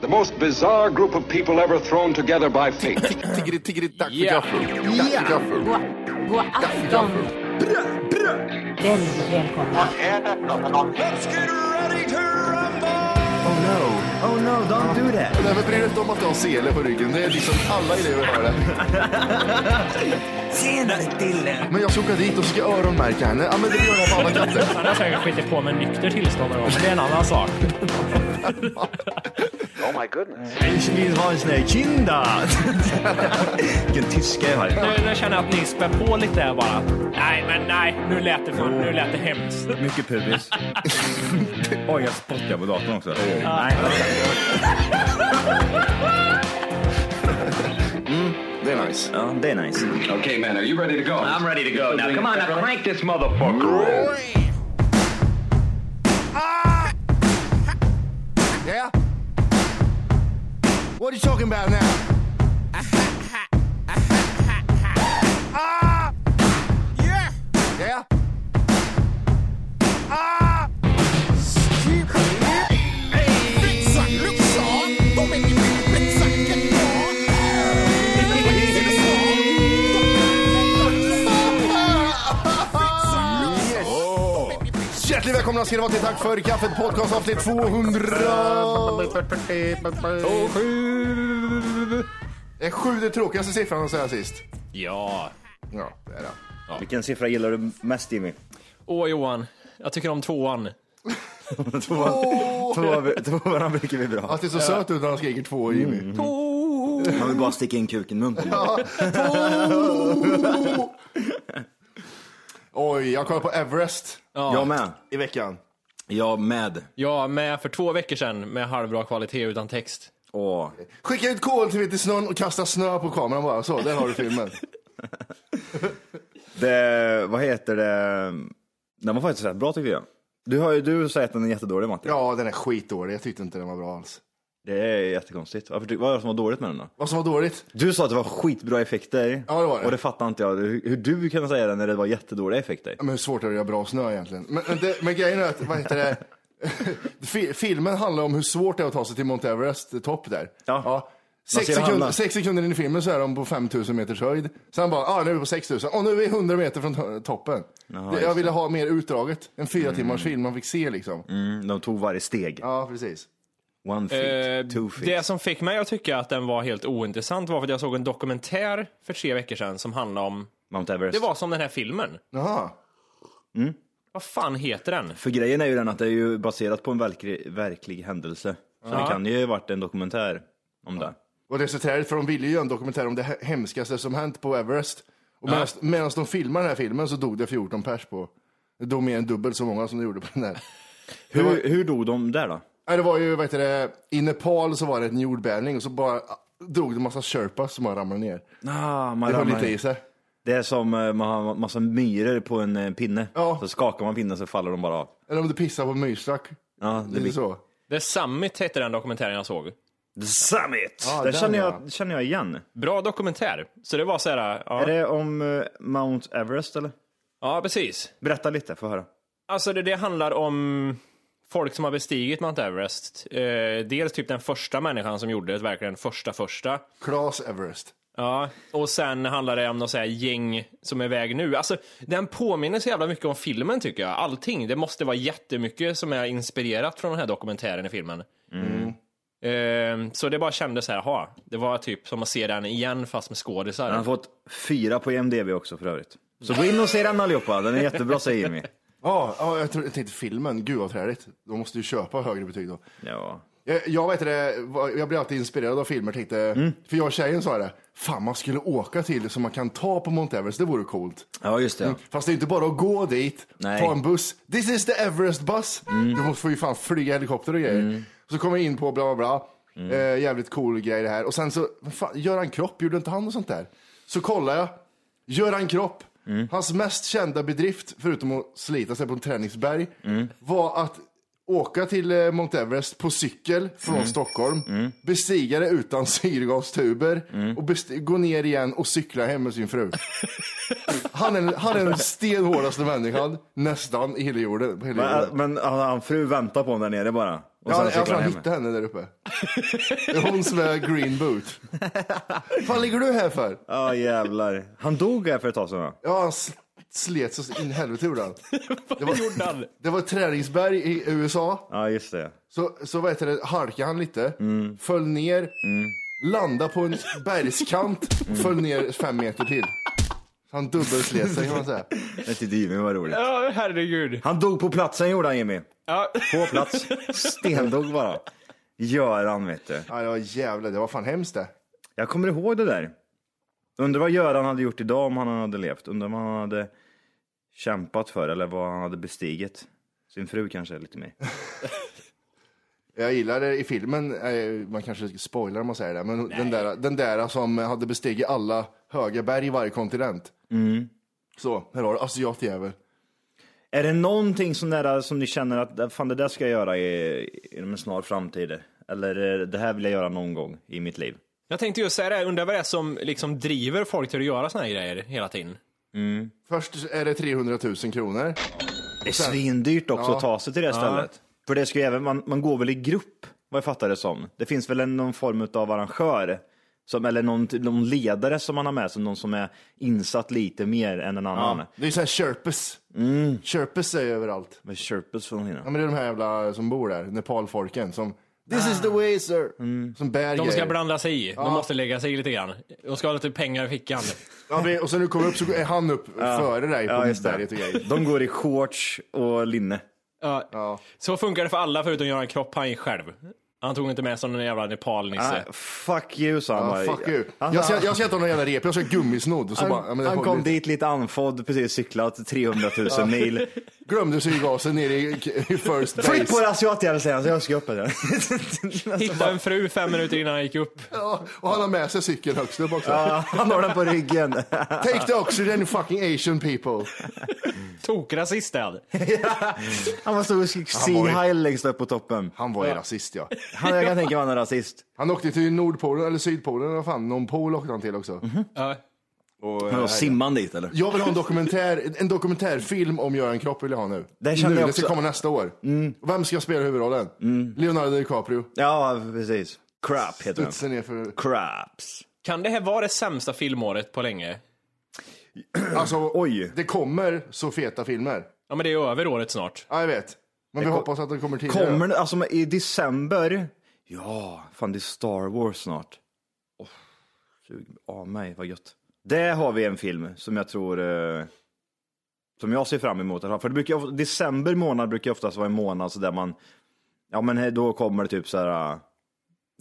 The most bizarre group of people ever thrown together by fate. Tiggeri, tiggeri, dack för Ja. gaffel. Dack för gaffel. God, god afton. Väldigt välkomna. Oh no, oh no, don't do that. Nej, men bry dig inte om att jag har sele på ryggen. Det är liksom alla elever har det. Senare Dille. Men jag ska åka dit och ska öronmärka henne. Ja, men det gör jag på alla katter. Han har säkert skitit på med nykter tillstånd och men det är en annan sak. Ich vill ha en sån här kinda. Vilken tyska jag har. Nu, nu känner jag att ni spär på lite här bara. Nej, men nej, nu lät det, för, nu lät det hemskt. Mycket pubis. Oj, jag spottar på datorn också. Det är nice. Ja, det är nice. okay, man, are you ready to go? I'm ready to go. Now, come on, now crank this motherfucker. Yeah? What are you talking about now? Ah! Yeah? Ah! Yes. Hjärtligt välkomna ska ni vara till Tack för kaffet podcast avsnitt 200... Och sju. Det är sju den tråkigaste siffran att säga sist. Ja. Ja, det är det. Vilken siffra gillar du mest Jimmy? Åh Johan, jag tycker om tvåan. Tvåan två, två brukar vi bra. Att det är så söt ut när han skriker två Jimmy. Man vill bara sticka in kuken i munnen. Oj, jag kollade på Everest Jag med. i veckan. Jag med. Jag med för två veckor sedan med halvbra kvalitet utan text. Åh. Skicka ut kolhydrater till snön och kasta snö på kameran bara. Så, där har du filmen. Det, vad heter det? Den var faktiskt rätt bra tycker jag. Du har ju du sagt att den är jättedålig Matti. Ja, den är skitdålig. Jag tyckte inte den var bra alls. Det är jättekonstigt. Varför, ty- vad var det som var dåligt med den då? Vad som var dåligt? Du sa att det var skitbra effekter. Ja, det var det. Och det fattar inte jag. Hur, hur du kunde säga det när det var jättedåliga effekter. Ja, Men hur svårt är det att göra bra snö egentligen? Men, men det, men grejen är att, vad heter det? Fi- Filmen handlar om hur svårt det är att ta sig till Mount Everest eh, topp där. Ja. Man Sex, ser alla. sekund, sex sekunder in i filmen så är de på 5000 meters höjd. Sen bara, ah, nu är vi på 6000. Och nu är vi 100 meter från to- toppen. Det- jag ville ha mer utdraget. En fyra timmars film man fick se liksom. Mm, de tog varje steg. Ja, precis. One Eh, feet, two feet. Det som fick mig att tycka att den var helt ointressant var för att jag såg en dokumentär för tre veckor sedan som handlade om, Mount Everest. det var som den här filmen. Jaha. Vad fan heter den? För grejen är ju den att det är ju baserat på en verklig, verklig händelse. Så det kan ju ha varit en dokumentär om det. Och det är så träligt, för de ville ju göra en dokumentär om det he- hemskaste som hänt på Everest. Och medan, medan de filmade den här filmen så dog det 14 pers på. Det dog mer än dubbelt så många som det gjorde på den här. Hur, hur dog de där då? Nej, det var ju, vad heter det, i Nepal så var det en jordbävning och så bara ah, dog det en massa sherpas som bara ramlade ner. Ah, man Det höll ramlar- lite i sig. det är som eh, man har massa myror på en eh, pinne. Ja. Så skakar man pinnen så faller de bara av. Eller om du pissar på myrstack. Ja, det Lite blir... så. The Summit hette den dokumentären jag såg. The Summit! Ja, Mm. det den, känner ja. jag, känner jag igen. Bra dokumentär. Så det var så här, ja, Är det om eh, Mount Everest eller? ja precis. Berätta lite, få höra. Alltså det, det handlar om folk som har bestigit Mount Everest. Eh, dels typ den första människan som gjorde det, verkligen första första. Klas Everest. Ja, och sen handlar det om något så här gäng som är iväg nu. Alltså, den påminner så jävla mycket om filmen tycker jag. Allting. Det måste vara jättemycket som är inspirerat från den här dokumentären i filmen. Eh, så det bara kändes så här, ha. Det var typ som att se den igen fast med skådisar. Han har fått fyra på IMDB också för övrigt. Så gå in och se den allihopa, den är jättebra säger Jimmy. Ja, ja, jag tror- jag tänkte filmen. Gud vad träligt. De måste ju köpa högre betyg då. Ja. Jag, jag vet det, var- jag blir alltid inspirerad av filmer. Tänkte, Mm. För jag och tjejen sa det. Fan, man skulle åka till så man kan ta på Mount Everest. Det vore coolt. ja, just det. ja. Fast det är inte bara att gå dit, Nej. ta en buss. This is the Everest bus. Du måste få ju fan flyga helikopter och grejer. Så kom jag in på bla bla bla. Eh, jävligt cool grej det här. Och sen så, vad fan, Göran Kropp, gjorde inte han något sånt där? Så kollar jag, Göran Kropp, hans mest kända bedrift, förutom att slita sig på en träningsberg, var att åka till eh, Mount Everest på cykel från Stockholm, bestiga det utan syrgastuber och besti- gå ner igen och cykla hem med sin fru. Han är, han är den stenhårdaste människan, nästan, i Mm. hela jorden. På hela jorden. Men, men han, han fru väntar på honom där nere bara. Och Ja, sen jag cyklar tror han han hem. hittade henne där uppe. Det är hon som är green boot. Vad ligger du här för? Ja jävlar. Han dog här för ett tag sedan va? Ja, han sl- slet så in i helvete gjorde han. Vad gjorde han? Det var ett träningsberg i USA. Ja just det. Så, så vad heter det, halkade han lite, Mm. föll ner, landade på en bergskant, Mm. föll ner fem meter till. Han dubbelslet sig kan man säga. Det tyckte Jimmy var roligt. Ja, herregud. Han dog på platsen gjorde han Jimmy. Ja. På plats. Stendog bara. Göran vet du. Ja, det var jävla, det var fan hemskt det. Jag kommer ihåg det där. Undrar vad Göran hade gjort idag om han hade levt. Undrar vad han hade kämpat för eller vad han hade bestigit. Sin fru kanske lite mer. Jag gillar det i filmen, eh, man kanske spoilar om man säger det, men den där, den där som hade bestigit alla höga berg i varje kontinent. Mm. Så, här har du asiatjävel. Är det någonting sån där som ni känner att fan det där ska jag göra i, inom en snar framtid? Eller eh, det här vill jag göra någon gång i mitt liv? Jag tänkte just säga det, här, undrar vad det är som liksom driver folk till att göra såna här grejer hela tiden. Först är det 300 000 kronor. Det är svindyrt också Ja. att ta sig till det stället. För det ska ju även, man, man går väl i grupp, vad jag fattar det som. Det finns väl en- någon form av arrangör, som, eller någon, någon ledare som man har med sig, någon som är insatt lite mer än en annan. Det är ju såhär Sherpas. Mm. Sherpas är ju överallt. Med Sherpas från Ja, innan. men det är de här jävla som bor där, nepalfolken som This Ah. is the way sir! Mm. Som bär De ska grejer. blanda sig i, de måste lägga sig i lite grann. De ska ha lite pengar i fickan. Ja, men- och sen när du kommer upp så är han upp före dig på Ja, just berget och det. grejer. De går i shorts och linne. Ja. Så funkar det för alla förutom Göran Kropp, han gick själv. Han tog inte med sig någon jävla Nepal-nisse. Ah, fuck you sa han. Ja, bara. Ah, fuck you. Han, Jag ska, han- jag ska inte ha någon jävla rep, jag ska ha gummisnodd. Och så bara, ja, men han, det han håller kom inte. dit lite andfådd, precis cyklat 300 000 mil. Glömde syrgasen nere i, i first base. Skit på det asiatjävel säger han, så jag ska upp här. Hittade en fru fem minuter innan han gick upp. Ja, och han har med sig cykeln högst upp också. Ja, Han har den på ryggen. Take the oxygen you fucking asian people. Tokrasist är han. Han var så Han var Sea ju- High längst upp på toppen. Han var ju rasist ja. Han, jag kan tänka mig han är rasist. Han åkte till Nordpolen, eller Sydpolen, eller vad fan, någon pol åkte han till också. Ja. Och, Men eh, då simmar han dit eller? jag vill ha en, dokumentär, en dokumentärfilm om Göran Kropp vill jag ha nu. Det känner nu, jag det ska också. Mm. komma nästa år. Vem ska spela huvudrollen? Leonardo DiCaprio. Ja, precis. Crap heter han. Studsa ner för... Craps. Kan det här vara det sämsta filmåret på länge? Alltså, Oj. det kommer så feta filmer. Ja men det är ju över året snart. Ja, jag vet. Men vi hoppas att de kommer Typ. tidigare. Kommer det, alltså i december? Ja, fan det är Star Wars snart. Oh, sug av mig, vad gött. Där har vi en film som jag tror, eh, som jag ser fram emot. i alla fall. För det brukar, ju of- december månad brukar ju oftast vara en månad så där man, ja men här- då kommer det typ så här, eh,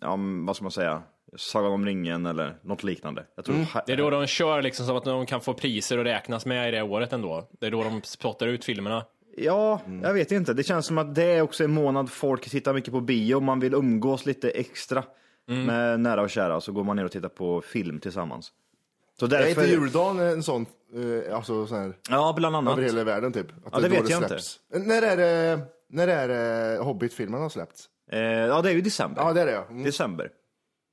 ja men vad ska man säga, Sagan om ringen eller något liknande. Jag tror, Mm. Det är då de kör liksom så att de kan få priser och räknas med i det året ändå. Det är då de spottar ut filmerna. Ja, jag vet inte. Det känns som att det är också en månad folk tittar mycket på bio. Man vill umgås lite extra med nära och kära. Så går man ner och tittar på film tillsammans. Så Är därför... inte juldagen en sån, eh, alltså sån här, Ja, bland annat. över hela världen typ? Att Ja, det är då vet jag inte. När är det, när är det Hobbit-filmen har släppts? Eh, ja, det är ju december. Ja, det är det ja. Mm. December.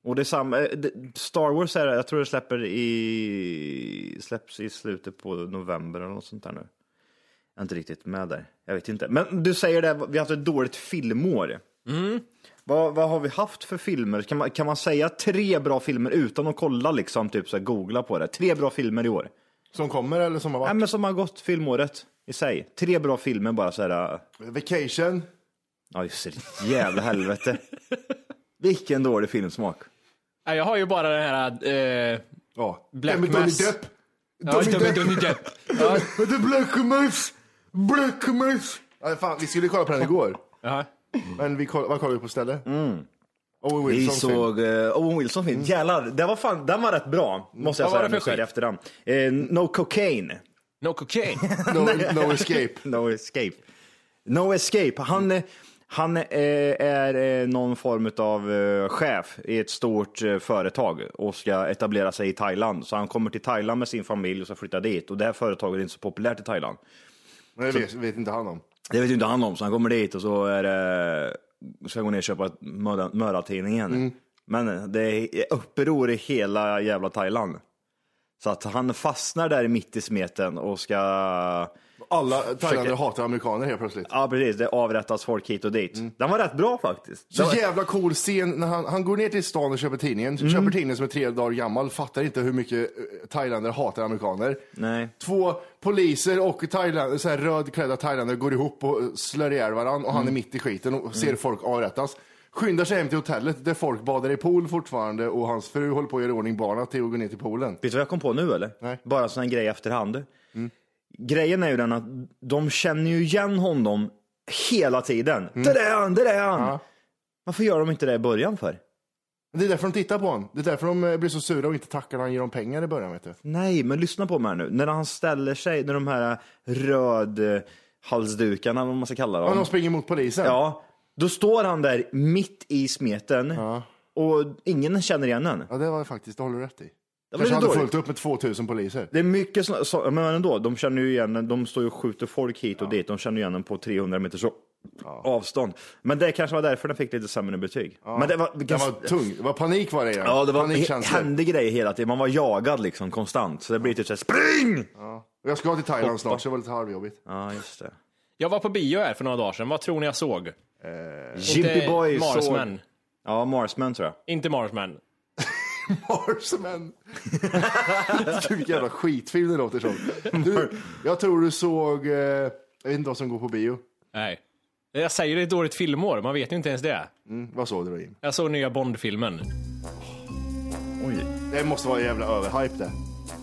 Och det är samma... eh, det- Star Wars är det, jag tror det släpper i... släpps i slutet på november eller något sånt där nu. Jag är inte riktigt med där. Jag vet inte. Men du säger det, vi har haft ett dåligt filmår. Vad, vad har vi haft för filmer? Kan man, kan man säga tre bra filmer utan att kolla liksom, typ så här, googla på det? Tre bra filmer i år. Som kommer eller som har Nej, varit? men som har gått filmåret i sig. Tre bra filmer bara så här. äh, Vacation. Ja, just det. Jävla helvete. Vilken dålig filmsmak. Nej, Jag har ju bara den här... Eh, Ja. Black Dummy, Dummy Mass. Depp. ja, Dummy Dummy Depp. Dummy Depp. Ja, Det är Black Mass. Black Mass. Ja, fan, vi skulle kolla på den igår. Ja. Men vi koll, vad kollade vi på istället? Owen Mm. Vi Wilson såg eh, Owen Wilson film. Jävlar, den var, fan, den var rätt bra. Måste jag Mm. Vad var säga det nu för så här i skit? efterhand. Eh, no cocaine, No cocaine. No, no Escape. no escape. No escape. Han, Mm. eh, han eh, är eh, någon form av chef i ett stort eh, företag och ska etablera sig i Thailand. Så han kommer till Thailand med sin familj och ska flytta dit. Och det här företaget är inte så populärt i Thailand. Men det vet, vet inte han om. Det vet ju inte han om, så han kommer dit och så är det, ska gå ner och köpa mörda- Mm. mördartidningen. Men det är uppror i hela jävla Thailand. Så att han fastnar där mitt i smeten och ska Alla thailändare Försöker- hatar amerikaner helt plötsligt. Ja precis, det avrättas folk hit och dit. Den var rätt bra faktiskt. Mm. Så Den var- jävla cool scen när han, han går ner till stan och köper tidningen. Mm. Köper tidningen som är tre dagar gammal, fattar inte hur mycket eh, thailändare hatar amerikaner. Nej. Två poliser och thailändare, så här rödklädda thailändare går ihop och eh, slår ihjäl varandra och han är Mm. mitt i skiten och ser folk avrättas. Skyndar sig hem till hotellet där folk badar i pool fortfarande och hans fru håller på att göra i ordning barnen till att gå ner till poolen. Vet du vad jag kom på nu eller? Nej. Mm. Bara sån här grej i efterhand. Grejen är ju den att de känner ju igen honom hela tiden. Där är han, där är han! Mm. Ja. Varför gör de inte det i början för? Det är därför de tittar på honom. Det är därför de eh, blir så sura och inte tackar när han ger dem pengar i början. Vet du. Nej, men lyssna på mig här nu. När han ställer sig, när de här röd halsdukarna, vad man ska kalla Ja, dem. de springer mot polisen. Mm. Ja, då står han där mitt i smeten och ingen känner igen honom. Ja, det var faktiskt, det håller du rätt i. Det var Kanske lite hade dåligt. fullt upp med 2000 poliser. Det är mycket såna, så, men ändå, de känner ju igen de står ju och skjuter folk hit och dit, de känner igen den på 300 meters å- avstånd. Men det kanske var därför den fick lite sämre betyg. Men det var, Det var tungt, det var panik var det igen. Ja, det var he- Panikkänslor. hände grejer hela tiden, man var jagad liksom konstant. Så det blir typ såhär, spring! Och Jag ska till Thailand snart så det var lite halvjobbigt. Ja, just det. Jag var på bio här för några dagar sedan. Vad tror ni jag såg? Jimpy Inte Boy Marsman. såg... Ja, Marsman tror jag. Inte Marsman. Marsman. Gud vilken jävla skitfilm det låter som. Du, jag tror du såg, eh, jag vet inte vad som går på bio. Nej. Jag säger det är ett dåligt filmår, man vet ju inte ens det. Mm, vad såg du då Jim? Jag såg nya Bond-filmen. Det måste vara en jävla överhype det.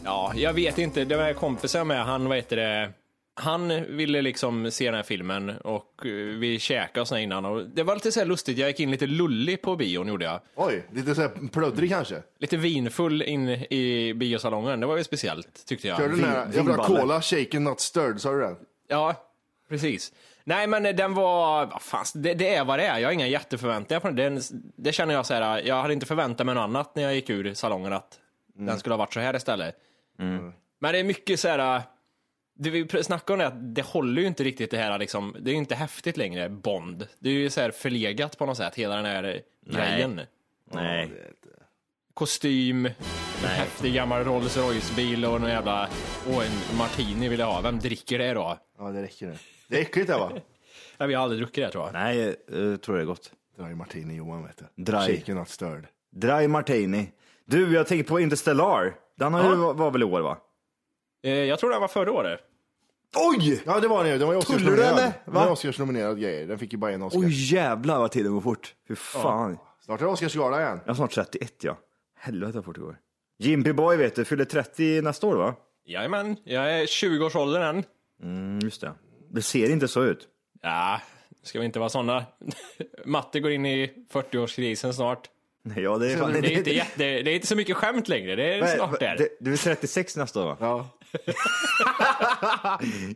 Ja, jag vet inte. Det var kompisar med, han, vad heter det, han ville liksom se den här filmen och eh, vi käkade och sådär innan. Och det var lite så här lustigt, jag gick in lite lullig på bion gjorde jag. Oj, lite såhär plöddrig kanske. Lite vinfull in i biosalongen, det var ju speciellt tyckte jag. Hör du den här, jag vill ha vinballe. cola, shaken not stirred, sa du den? Ja, precis. Nej, men eh, den var... vad Fan, det, det är vad det är. Jag har inga jätteförväntningar på den. den. Det känner jag så här, jag hade inte förväntat mig något annat när jag gick ur salongen att den skulle ha varit så här istället. Men det är mycket så här... Det vi pr- snackade om det, att det håller ju inte riktigt det här liksom, det är ju inte häftigt längre, Bond. Det är ju så här förlegat på något sätt, hela den här grejen. Nej. Kostym, en häftig gammal Rolls Royce-bil och en jävla, och en martini vill jag ha. Vem dricker det då? Ja det räcker nu. Det är äckligt det va? Jag har aldrig druckit det tror jag. Nej, eh, tror det är gott. Dry Martini Johan vet du. Dry. Shaken not stirred. Dry Martini. Du, jag tänker på Interstellar. Den har ju, var, var väl i år va? Eh, Jag tror det var förra året. Oj! Ja det var den ju, den var ju Tullar du Oscarsnominerad. henne? Den Va? var Oscarsnominerad grejer, den fick ju bara en Oscar. Oj jävlar vad tiden går fort. Fy fan. Snart är det Oscarsgala igen. Jag är snart 31 ja. Helvete vad fort det går. Jimpy Boy vet du, fyller 30 nästa år va? Jajamän, jag är 20-årsåldern än. Mm, just det. Det ser inte så ut. Ja, ska vi inte vara såna. Matte går in i 40-årskrisen snart. Nej, ja, det, är Ser fan, du- Det är, inte jätte, det är inte så mycket skämt längre, det är snart där. det, Du är 36 nästa år va? Ja.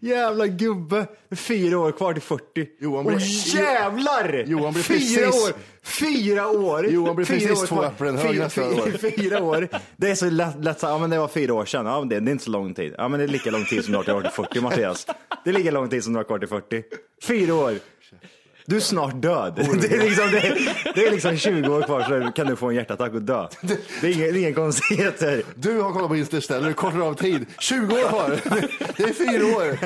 Jävla gubbe! Fyra år kvar till 40. Johan blir- Åh, jävlar! Johan blir fyra precis- år! Fyra år! Johan blir Fyra precis år två kvar. äpplen hög Fyra- nästa fyra- år. Fyra år. Det är så lätt, lätt så, ja men det var fyra år sedan. Ja, men det, det är inte så lång tid. Ja men det är lika lång tid som du har kvar till 40 Mattias. Det är lika lång tid som du har kvar till 40. Fyra år! Du är snart död. Det är liksom, det är, det är liksom 20 år kvar så kan du få en hjärtattack och dö. Det är inga, det är inga konstigheter. Du har kollat på Interstellar, du kortar av tid. 20 år kvar! Det är fyra år!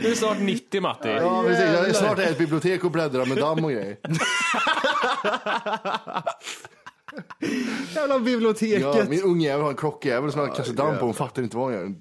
Du är snart 90 Matti. Ja, precis. Jag är snart i ett bibliotek och bläddrar med damm och grejer. Jävla biblioteket. Ja, min ungjävel har en klockjävel som jag kastar damm på. Hon fattar inte vad hon gör.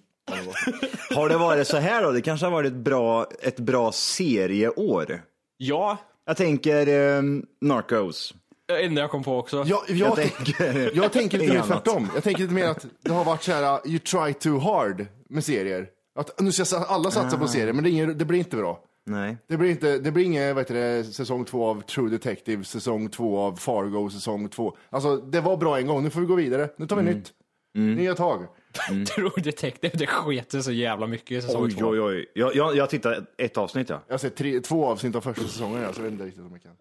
Har det varit så här då? Det kanske har varit ett bra, ett bra serieår. Ja, Jag tänker eh, Narcos. det enda jag kom på också. Jag, jag, Jag jag, tänker- tänker lite mer Inget annat. tvärtom. Jag tänker lite mer att det har varit så här, uh, you try too hard med serier. Att nu ska sa- alla satsa Ah. på serier, men det, är ingen, det blir inte bra. Nej. Det blir inte, det blir ingen, vad heter det, säsong två av True Detective, säsong två av Fargo, säsong två. Alltså, det var bra en gång, nu får vi gå vidare. Nu tar vi Mm. nytt. Nya tag. True Detective, det sket sig så jävla mycket i säsong Oj, två. oj, oj. Jag, jag, jag tittar ett avsnitt ja. Jag har sett tre, två avsnitt av första säsongen, alltså, jag vet inte riktigt om jag kan.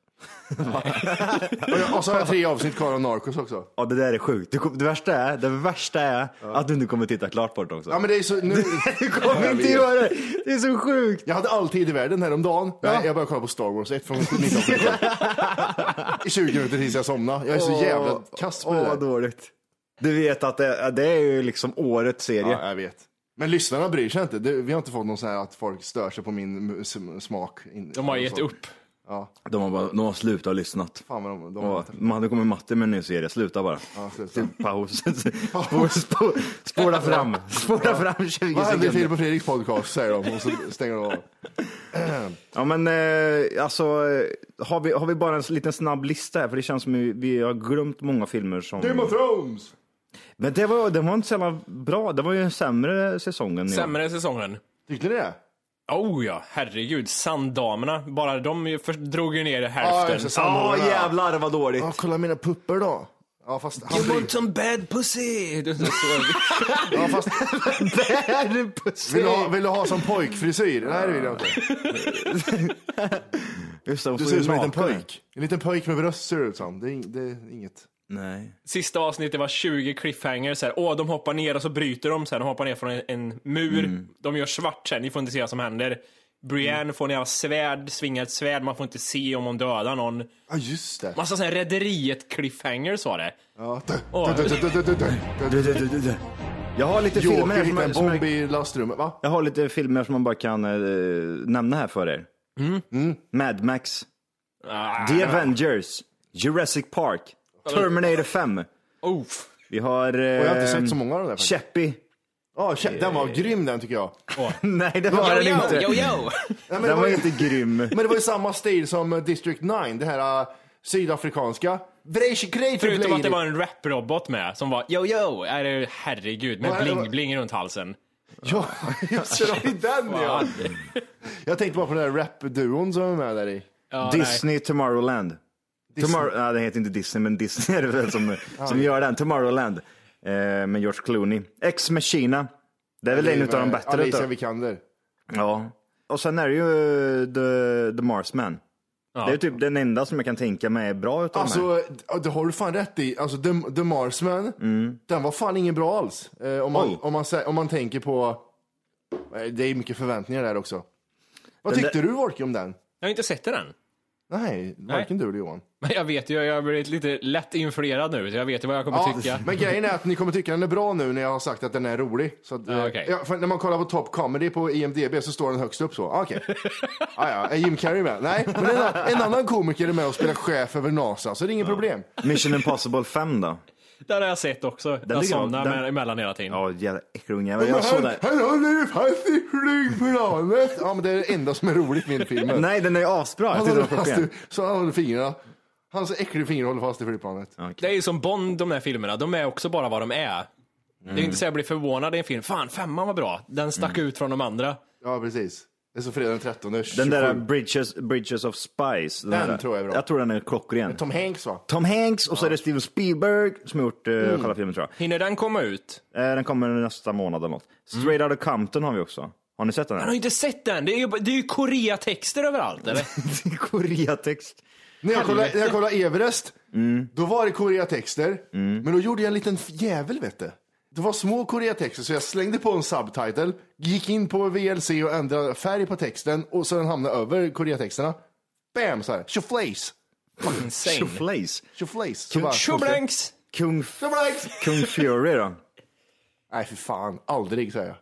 och, jag, och så har jag tre avsnitt kvar av Narcos också. ja. Det där är sjukt. Det, kom- det värsta är, det värsta är att du inte kommer titta klart på det också. Ja, men det är så, nu, Du kommer inte göra det. Det är så sjukt. jag hade all tid i världen häromdagen. Nej, jag började kolla på Star Wars 1 från 1977. I 20 minuter tills jag somnade. Jag är så jävla kass på Åh, det vad där. dåligt. Du vet att det, det är ju liksom årets serie. Ja, jag vet. Men lyssnarna bryr sig inte. Det, vi har inte fått någon så här att folk stör sig på min mus- smak. In- De har gett upp. De har bara, de har slutat lyssnat. Fan vad de, de Ja, har man, det kommer matte med en ny serie, sluta bara. ja, sluta. Till Paus. Spå- spå- Spåla fram. Spåla fram 20 Vad hände i sekunder. Filip och Fredriks podcast säger de och så stänger de av. Ja men eh, alltså, eh, har vi, har vi bara en liten snabb lista här? För det känns som vi, vi har glömt många filmer som... Game of Thrones! Men det var, det var inte så jävla bra, det var ju en sämre säsong än jag. Sämre säsongen. Tyckte ni det? Oh ja, herregud. Sanddamerna, bara de ju först drog ju ner Ja, hälften. just det, Ja samordnarna. jävlar vad dåligt. Ja, kolla mina puppar då. Ja, fast han You blir... want some bad pussy? Det är så- Ja, fast... vill, du ha, vill du ha som pojkfrisyr? Nej, det vill jag inte. Just det, hon Du får ser ju ut som en liten naken. pojk. En liten pojk med bröst ser du ut som. Det är, ing- det är inget. Nej. Sista avsnittet var 20 cliffhangers. Så här, Åh, de hoppar ner och så bryter de. Så här, de hoppar ner från en, en mur. De gör svart sen. Ni får inte se vad som händer. Brienne får en jävla svärd, svingar ett svärd. Man får inte se om hon dödar någon. Ja, just det. Massa sån här rederiet cliffhangers var det. Ja. Åh. Du, du, du, du, du, du. Du, du, du, du, du. Jag har lite filmer Joker här som, hittade en jag- som bomb jag, i lastrummet, va? jag har lite filmer som man bara kan eh, nämna här för er. Mm. Mad Max, Ah, The Avengers, Jurassic Park, Terminator 5. oh. Vi har... Eh, Och jag har inte sett så många av de där faktiskt. Chappie. Ja, shit, den var grym den tycker jag. Nej, det var den inte. yo! Nej, men, det Den var var ju, inte grym. men det var ju samma stil som eh, District 9, det här eh, sydafrikanska. Förutom att det var en rap-robot med som var yo yo, är det, herregud, med Vad är det- bling-bling runt halsen. Ja, just det, det var ju den ja. Jag tänkte bara på den där rap-duon som är med där i. Ja, Disney Tomorrowland. Tomorrow, nej, den heter inte Disney, men Disney är det väl som, som gör den. Tomorrowland. Eh, med George Clooney. Ex Machina. Det är väl en av de bättre. typ. Alicia utav- Vikander. Ja. Och sen är det ju eh, The, the Marsman. Det är typ den enda som jag kan tänka mig är bra utav de här. Alltså, ja, det har du fan rätt i. Alltså, The, The Marsman, den var fan ingen bra alls. Eh, om, man, Oj. om, man, sä- om man tänker på... eh, Det är mycket förväntningar där också. Vad Den tyckte där- du, Wolke, om den? Jag har inte sett den än. Nej, varken du eller Johan. Men jag vet ju, jag har blivit lite lätt influerad nu, så jag vet ju vad jag kommer tycka. men grejen är att ni kommer tycka den är bra nu när jag har sagt att den är rolig. Så att, eh, Ja, okej. ja, för när man kollar på Top Comedy på IMDB så står den högst upp så. Ah, Okej. Ah, ja, är Jim Carrey med? Nej, men en, a- en annan komiker är med och spelar chef över NASA, så det är inget problem. Mission Impossible 5 då. Den har jag sett också. jag ligger- somnar den- med- emellan hela tiden. Ja, jävla äckelunge. Jag såg den. Han håller ju fast i flygplanet! Ja, men det är det enda som är roligt med filmen. Nej, den är ju asbra. Jag han tittar håller på fast i, klockan. så han håller fingrarna. Hans äckliga fingrar håller fast i flygplanet. Det är ju som Bond, de här filmerna. De är också bara vad de är. Det är inte så jag blir förvånad i en film. Fan, femman var bra. Den stack ut från de andra. Ja, precis. Det är så fredag den 13. Den där Bridges, Bridges of Spies. Den där- tror jag är bra. Jag tror den är klockren. Tom Hanks va? Tom Hanks och så är det Steven Spielberg som har gjort uh, Mm. kolla filmen tror Hinner den komma ut? jag. Eh, den kommer nästa månad eller något. Mm. Straight Outta Compton har vi också. Har ni sett den? Jag har Här? inte sett den. Det är ju, det är ju Korea-texter överallt, eller? Koreatext. När jag kollade, när jag kollade Everest, då var det koreatexter, men då gjorde jag en liten f- jävel vet du. Det var små koreatexter, så jag slängde på en subtitle, gick in på VLC och ändrade färg på texten och så den hamnade över koreatexterna. Bam! Så här. Tjoflejs! Insane. Tjoflejs. Tjoflejs! Så bara- Tjoblanks! Kung, Tjoflejs! Kung Fury då. Nej, för fan. Aldrig, säger jag.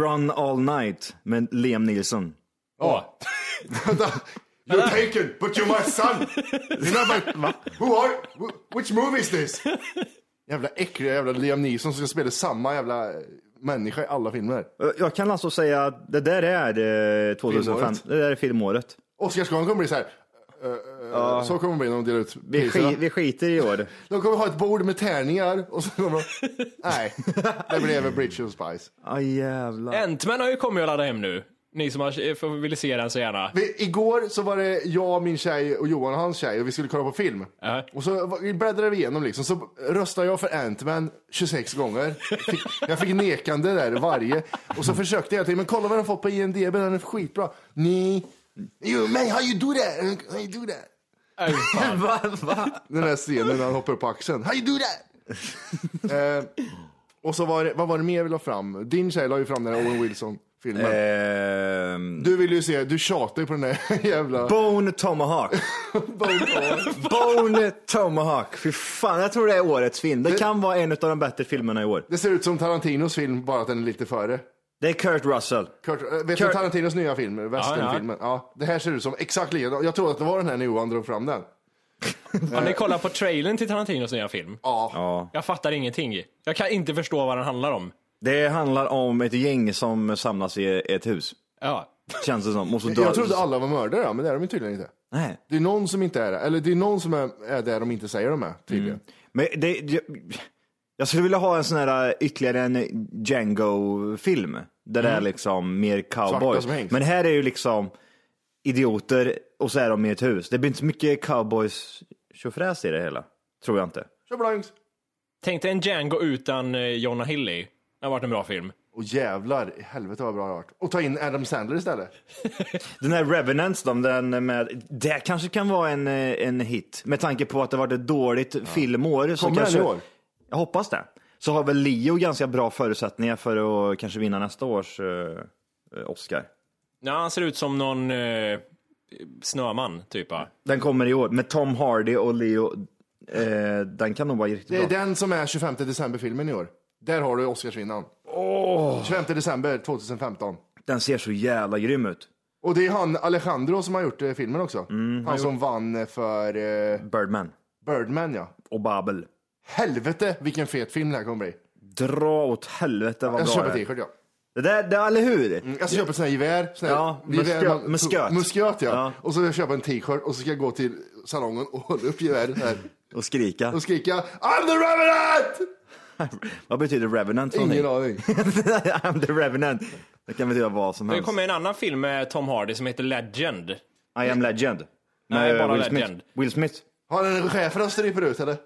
Run All Night med Liam Neeson. Åh. Vänta. You're taken, but you're my son! You're not my... Va? Who are... wh- Which movie is this? Jävla äckliga jävla Liam Neeson som ska spela samma jävla eh, människa i alla filmer. Eh, Jag kan alltså säga att det där är eh, 2005. Filmåret. Det där är filmåret. Oscarsgalan kommer bli så här. eh, eh, Så kommer det bli när de delar ut Vi, sk- priserna. vi skiter i år. De kommer ha ett bord med tärningar och så kommer de... Nej, det blev Bridge of Spice. Aj jävlar. Ant-Man har ju kommit och laddat hem nu. Ni som har, eh, får- vill se den så gärna. Vi, igår så var det jag, min tjej och Johan och hans tjej och vi skulle kolla på film. Ja. Och så var- bläddrade vi igenom liksom, så röstade jag för Ant-Man 26 gånger. Fick, jag fick nekande där varje. Och så försökte jag, till, men kolla vad den fått på IMDB, den är skitbra. Nej. You man, how you do that? How you do that? Aj, fan. Den där scenen när han hoppar upp på axeln. How you do that? eh, och så var det, vad var det mer vi la fram? Din tjej la ju fram den här Owen Wilson. filmen. Ehm, Du vill ju se, du tjatar ju på den där jävla... Bone Tomahawk. Bone Tomahawk. Fy fan, jag tror det är årets film. Det kan vara en av de bättre filmerna i år. Det ser ut som Tarantinos film, bara att den är lite före. Det är Kurt Russell. Kurt, äh, vet du Kurt- Tarantinos nya film, westernfilmen? Ja, Det här ser ut som exakt likadan. Jag trodde att det var den här när Johan drog fram den. Har ni kollat på trailern till Tarantinos nya film? Ja. Jag fattar ingenting. Jag kan inte förstå vad den handlar om. Det handlar om ett gäng som samlas i ett hus. Ja. Känns det som. Och så dör... Jag trodde alla var mördare, ja, men det är de ju tydligen inte. Nej. Det är någon som inte är det, eller det är någon som är, är där de inte säger de är, tydligen. Men det, jag, jag skulle vilja ha en sån här äh, ytterligare en Django-film. Där det är liksom mer cowboys. Mm. som hängs. Men här är ju liksom idioter och så är de i ett hus. Det blir inte så mycket cowboys tjofräs i det hela. Tror jag inte. Kör blanks. Tänk dig en Django utan eh, Jonah Hill i. Det har varit en bra film. Och jävlar, i helvete vad bra det har varit. Och ta in Adam Sandler istället. Den här Revenants då, den med, det kanske kan vara en, eh, en hit. Med tanke på att det varit ett dåligt filmår. Så Kommer den kanske, i år? Jag hoppas det. Så har väl Leo ganska bra förutsättningar för att kanske vinna nästa års eh, Oscar. Ja, han ser ut som någon eh, snöman, typ. va? Den kommer i år med Tom Hardy och Leo. Eh, den kan nog vara riktigt Det är bra. den som är 25 december-filmen i år. Där har du Oscarsvinnaren. 25 december 2015. Den ser så jävla grym ut. Och det är han Alejandro som har gjort eh, filmen också. Mm, han som vann eh, för eh, Birdman Birdman ja. och Babel. Helvete vilken fet film det här kommer bli. Dra åt helvete vad Jag bra köper det är. t-shirt ja. Det där, det, eller hur? Jag ska köpa ett sånt här gevär. Sån här Ja, gevär musköt- man- musköt. Musköt ja. Ja. Och så ska jag köpa en t-shirt och så ska jag gå till salongen och hålla upp geväret här Och skrika. och skrika I'm the Revenant! vad betyder Revenant? tror ni? Ingen aning. I'm the Revenant. Det kan betyda vad som Det helst. kommer en annan film med Tom Hardy som heter Legend. I am legend. Nej, Med bara Will Legend. Smith. Will Smith. Har den en schäfer stryper ut eller?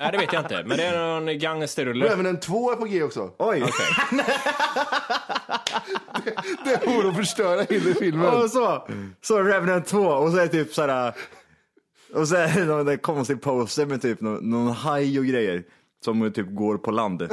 Nej, det vet jag inte. Men det är någon gangsterrulle. Revenant 2 är på G också. Oj! Det vore att förstöra hela filmen. Och så, så Revenant 2 och så är det typ såhär, och så är det någon där konstig poster med typ någon, någon haj och grejer som typ går på land. Äh,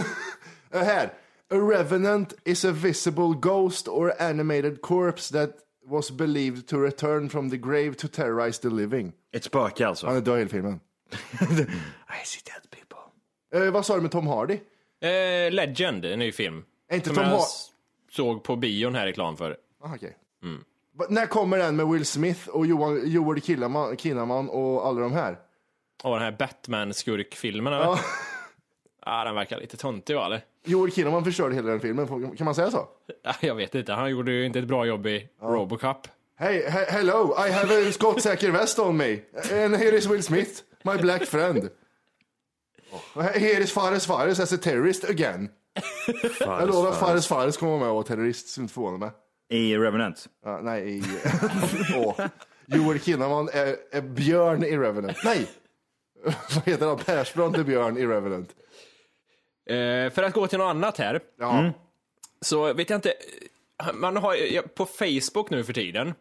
Här. A revenant is a visible ghost or animated corpse that was believed to return from the grave to terrorize the living. Ett spöke Han alltså. är död i hela filmen. I see dead people. Eh, vad sa du med Tom Hardy? Eh, Legend, en ny film. Är inte Som Tom jag Hardy... s- såg på bion här reklam för. Ah, okej. Va- När kommer den med Will Smith och Johan, Joel Kinnaman, Kinnaman och alla de här? Och den här Batman-skurkfilmen, eller? Ja. Ah, den verkar lite töntig, va? Eller? Joel Kinnaman förstörde hela den filmen, Får- kan man säga så? Ah, Jag vet inte. Han gjorde ju inte ett bra jobb i Robocop. Hey, he- hello, I have a skottsäker väst on me. And here is Will Smith, my black friend. Och he- Here is Fares Fares as a terrorist again. Jag lovar, Fares Fares kommer vara med och vara terrorist, så inte förvåna mig. I Revenant. Ja, nej, i... Åh. Joel Kinnaman är, är björn i Revenant. Nej! Vad heter han? Persbrandt är björn i Revenant. Eh, för att gå till något annat här. Mm. Ja. så vet jag inte. Man har ja, på Facebook nu för tiden.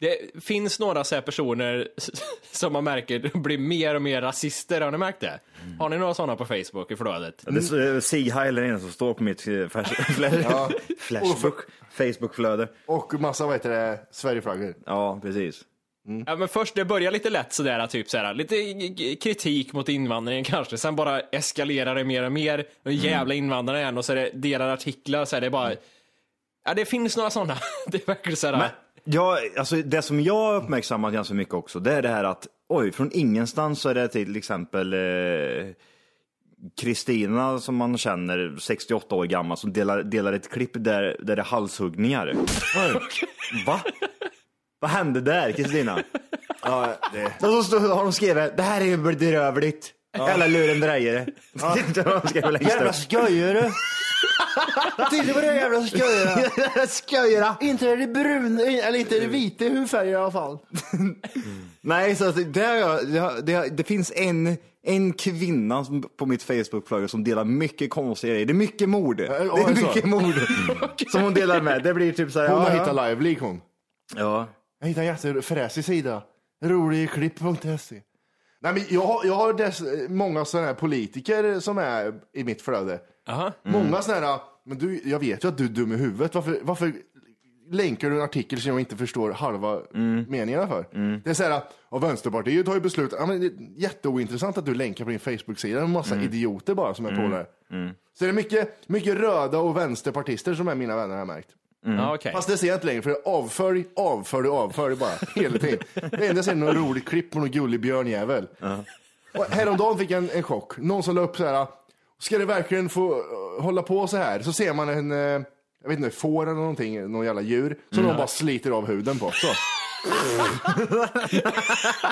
Det finns några så här personer som man märker blir mer och mer rasister. Har ni märkt det? Har ni några sådana på Facebook i flödet? Det är eh, Sieg Heil är en som står på mitt eh, flash, flash, flashbook, Facebookflöde. Och massa, vad heter det, Sverigeflaggor. Ja, precis. Ja, men först det börjar lite lätt sådär, typ såhär, lite k- kritik mot invandringen kanske. Sen bara eskalerar det mer och mer. Och jävla invandrare igen och så är det delar artiklar. Så här, det är bara... Ja, det finns några sådana. Det verkar såhär. Men, ja, alltså det som jag har uppmärksammat ganska mycket också, det är det här att oj, från ingenstans så är det till exempel eh, Kristina som man känner, 68 år gammal, som delar, delar ett klipp där, där det är halshuggningar. Oj, Va? Vad hände där Kristina? Ja, det... Och så står- har de skrivit, det här är ju bedrövligt. Alla lurendrejare. Ja. Jävla skojare du. Titta på det jävla skojare! skojare. Inte är det brun, eller inte är det vita hudfärger i alla fall. Mm. Nej, så att det, har jag, det, har- det, har- det finns en, en kvinna som, på mitt Facebook-flöde som delar mycket konstiga grejer. Det är mycket mord. Det ja, är det är så. mycket mord som hon delar med. Det blir typ så här. Hon har ja, hittat Live League hon. ja. Jag hittade en jättefräsig sida. Roligklipp.se. E. Nej, men jag har, jag har dess, många sådana här politiker som är i mitt flöde. Aha. Många sådana här Men du, jag vet ju att du är dum i huvudet. Varför, varför länkar du en artikel som jag inte förstår halva meningarna för? Det är så här, ja, Vänsterpartiet har ju beslutat. Ja, men det är jätteointressant att du länkar på din Facebook-sida med massa idioter bara som är polare. Så det är mycket, mycket röda och vänsterpartister som är mina vänner har jag märkt. Ja, okej. Fast det ser jag inte längre, för avfölj, avfölj, avfölj bara hela tiden. Det enda jag ser är någon rolig klipp på någon gullig björnjävel. Och häromdagen fick jag en, en chock. Någon som la upp så här, ska det verkligen få eh, hålla på så här? Så ser man en, eh, jag vet inte, får eller någonting, någon jävla djur, som de bara sliter av huden på. Så.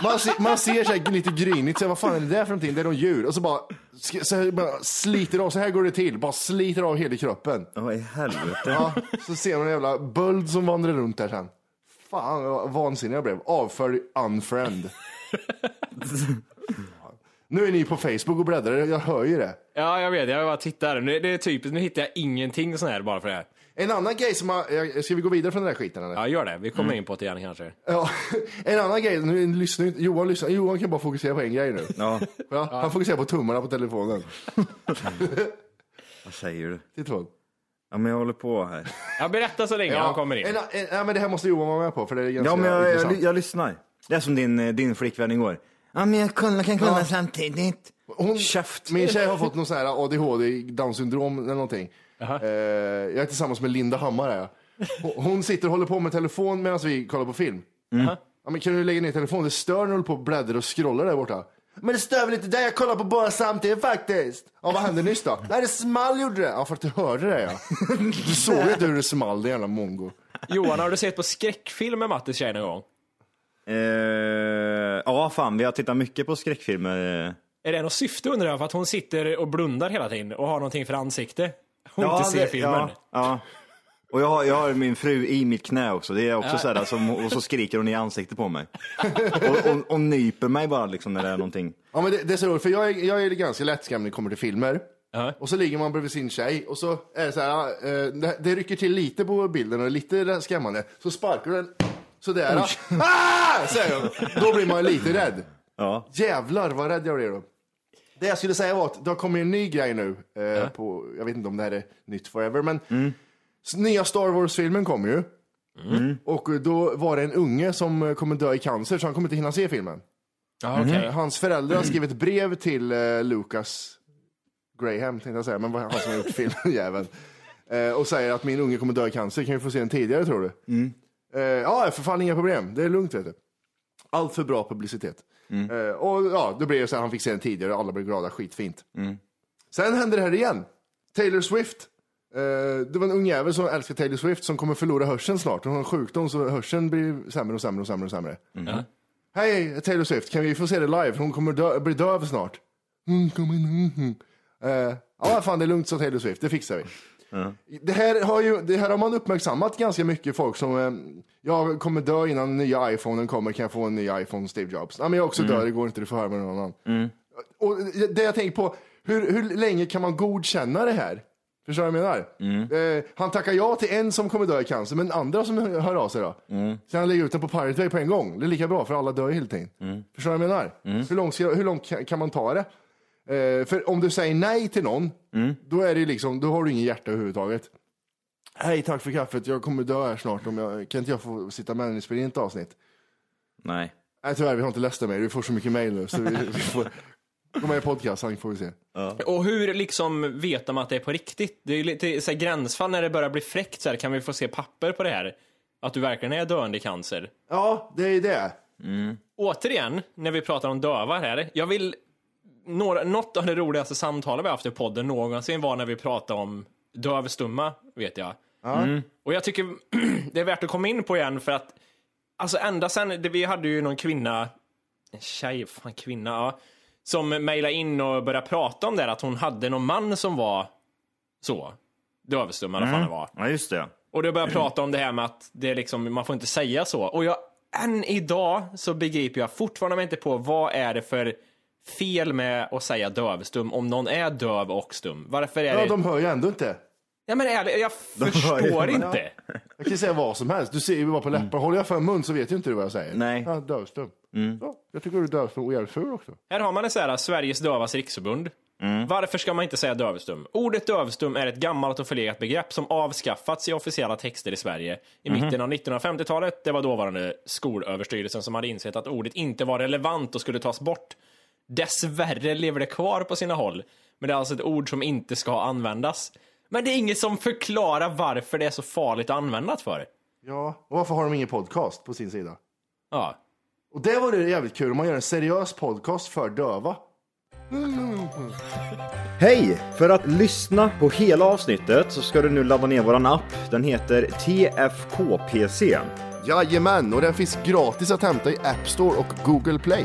man, ser, man ser så här lite grynigt, så här, vad fan är det där för någonting? Det är någon djur. Och så bara, sk- så här, bara sliter av, så här går det till, bara sliter av hela kroppen. Vad i helvete? Ja, så ser man en jävla böld som vandrar runt där sen. Fan vad vansinnig jag blev. Avfölj unfriend. nu är ni på Facebook och bläddrar, jag hör ju det. Ja, jag vet. Jag bara tittar. Nu, det är typiskt. Nu hittar jag ingenting sån här bara för det här. En annan grej som har, jag- ska vi gå vidare från den här skiten eller? Ja, gör det. Vi kommer in på det igen kanske. Ja. En annan grej, nu lyssnar ju inte- Johan lyssnar, Johan kan bara fokusera på en grej nu. Ja, Ja, han fokuserar på tummarna på telefonen. vad säger du? Telefon. Ja, men jag håller på här. Ja, berätta så länge han kommer in. En, en, ja, men det här måste Johan vara med på för det är ganska Ja, men jag, jag, intressant. jag, lyssnar. Det är som din, eh, din flickvän igår. Ja, men jag kan, kan kolla samtidigt. Hon, Käft. Min tjej har fått någon sån här ADHD, down syndrom eller någonting. Eh, jag är tillsammans med Linda Hammar. Här. Hon- Hon sitter och håller på med telefon medan vi kollar på film. Ja, men kan du lägga ner telefonen? Det stör när du håller på och bläddrar och scrollar där borta. Men det stör väl inte dig? Jag kollar på båda samtidigt faktiskt. Ja, vad hände nyss då? Nej, det small gjorde det. Ja, för att du hörde det ja. Du såg ju inte hur det small, det jävla mongo. Johan, har du sett på skräckfilm med Mattis tjej någon gång? Eh, ja, fan, vi har tittat mycket på skräckfilmer. eh. Är det något syfte undrar jag? För att hon sitter och blundar hela tiden och har någonting för ansikte. Hon inte ser det- filmen. Ja, ja. Och jag har, jag har min fru i mitt knä också. Det är också så här, som, och så skriker hon i ansiktet på mig. Och, och, och nyper mig bara liksom när det är någonting. Ja, men det, det är så roligt, för jag är, jag är ganska lättskrämd när det kommer till filmer. Ja. Och så ligger man bredvid sin tjej och så är det så här, eh, det, det rycker till lite på bilden och är lite skrämmande. Så sparkar du den sådär. Ah! Säger hon. Då blir man lite rädd. Ja. Jävlar vad rädd jag blir då. Det jag skulle säga var att det har kommit en ny grej nu. Eh, på, jag vet inte om det här är nytt forever, men s- nya Star Wars-filmen kommer ju. Och då var det en unge som eh, kommer dö i cancer, så han kommer inte hinna se filmen. Ja, okej. Eh, Hans föräldrar har skrivit brev till eh, Lucas Graham, tänkte jag säga, men vad- han som har gjort filmen, jäveln. Eh, och säger att min unge kommer dö i cancer, kan vi få se den tidigare tror du? Eh, ja, för fan inga problem, det är lugnt vet du. Allt för bra publicitet. Eh, och ja, då blir det så här, han fick se den tidigare och alla blir glada, skitfint. Sen händer det här igen. Taylor Swift. Eh, det var en ung jävel som älskar Taylor Swift som kommer förlora hörseln snart. Hon har en sjukdom så hörseln blir sämre och sämre och sämre. Och sämre. Hej Taylor Swift, kan vi få se det live? Hon kommer dö- bli döv snart. Mm, kom in, mm, mm. Eh, ja, fan det är lugnt sa Taylor Swift, det fixar vi. Det, här har ju, det här har man uppmärksammat ganska mycket folk som, eh, jag kommer dö innan nya iPhonen kommer, kan jag få en ny iPhone Steve Jobs? Ja, men jag också dör, det går inte, du får höra med någon annan. Och det jag tänker på, hur, hur länge kan man godkänna det här? Förstår du vad jag menar? Eh, han tackar ja till en som kommer dö i cancer, men andra som hör av sig då? Så han lägger ut den på Pirate Bay på en gång. Det är lika bra, för alla dör ju hela tiden. Förstår du vad jag menar? Hur långt, ska, hur långt kan, kan man ta det? Eh, för om du säger nej till någon, då, är det liksom, då har du ingen hjärta överhuvudtaget. Hej, tack för kaffet. Jag kommer dö här snart. Om jag, kan inte jag få sitta med och spela in ett avsnitt? Nej. Nej, tyvärr, vi har inte läst det mer. Vi får så mycket mejl nu, så vi, vi får gå med i podcastan får vi se. Mm. Och hur liksom vet de att det är på riktigt? Det är ju lite så här gränsfall när det börjar bli fräckt så här, kan vi få se papper på det här? Att du verkligen är döende i cancer? Ja, det är det. Återigen, när vi pratar om döva här, jag vill... Några, något av det roligaste samtalen vi haft i podden någonsin var när vi pratade om dövstumma, vet jag. Mm. Och jag tycker det är värt att komma in på igen för att, alltså ända sen, det, vi hade ju någon kvinna, en tjej, fan kvinna, ja, som mejlade in och började prata om det här, att hon hade någon man som var så, dövstum eller vad fan det var. Ja, just det. Och då börjar jag prata om det här med att det är liksom, man får inte säga så. Och jag, än idag så begriper jag fortfarande mig inte på vad är det för fel med att säga dövstum om någon är döv och stum. Varför är Ja, det... de hör ju ändå inte. Ja, men ärligt, jag förstår inte. Jag kan ju säga vad som helst. Du ser ju bara på läpparna. Håller jag för mun så vet ju inte du vad jag säger. Nej. Ja, dövstum. Ja, jag tycker du är dövstum och jävligt ful också. Här har man det så här, Sveriges dövas riksförbund. Varför ska man inte säga dövstum? Ordet dövstum är ett gammalt och förlegat begrepp som avskaffats i officiella texter i Sverige i mitten av 1950-talet. Det var dåvarande Skolöverstyrelsen som hade insett att ordet inte var relevant och skulle tas bort. Dessvärre lever det kvar på sina håll, men det är alltså ett ord som inte ska användas. Men det är inget som förklarar varför det är så farligt att använda det för. Ja, och varför har de ingen podcast på sin sida? Ja. Och det var det jävligt kul om man gör en seriös podcast för döva. Hej! För att lyssna på hela avsnittet så ska du nu ladda ner våran app. Den heter TFKPC. Jajamän, och den finns gratis att hämta i App Store och Google Play.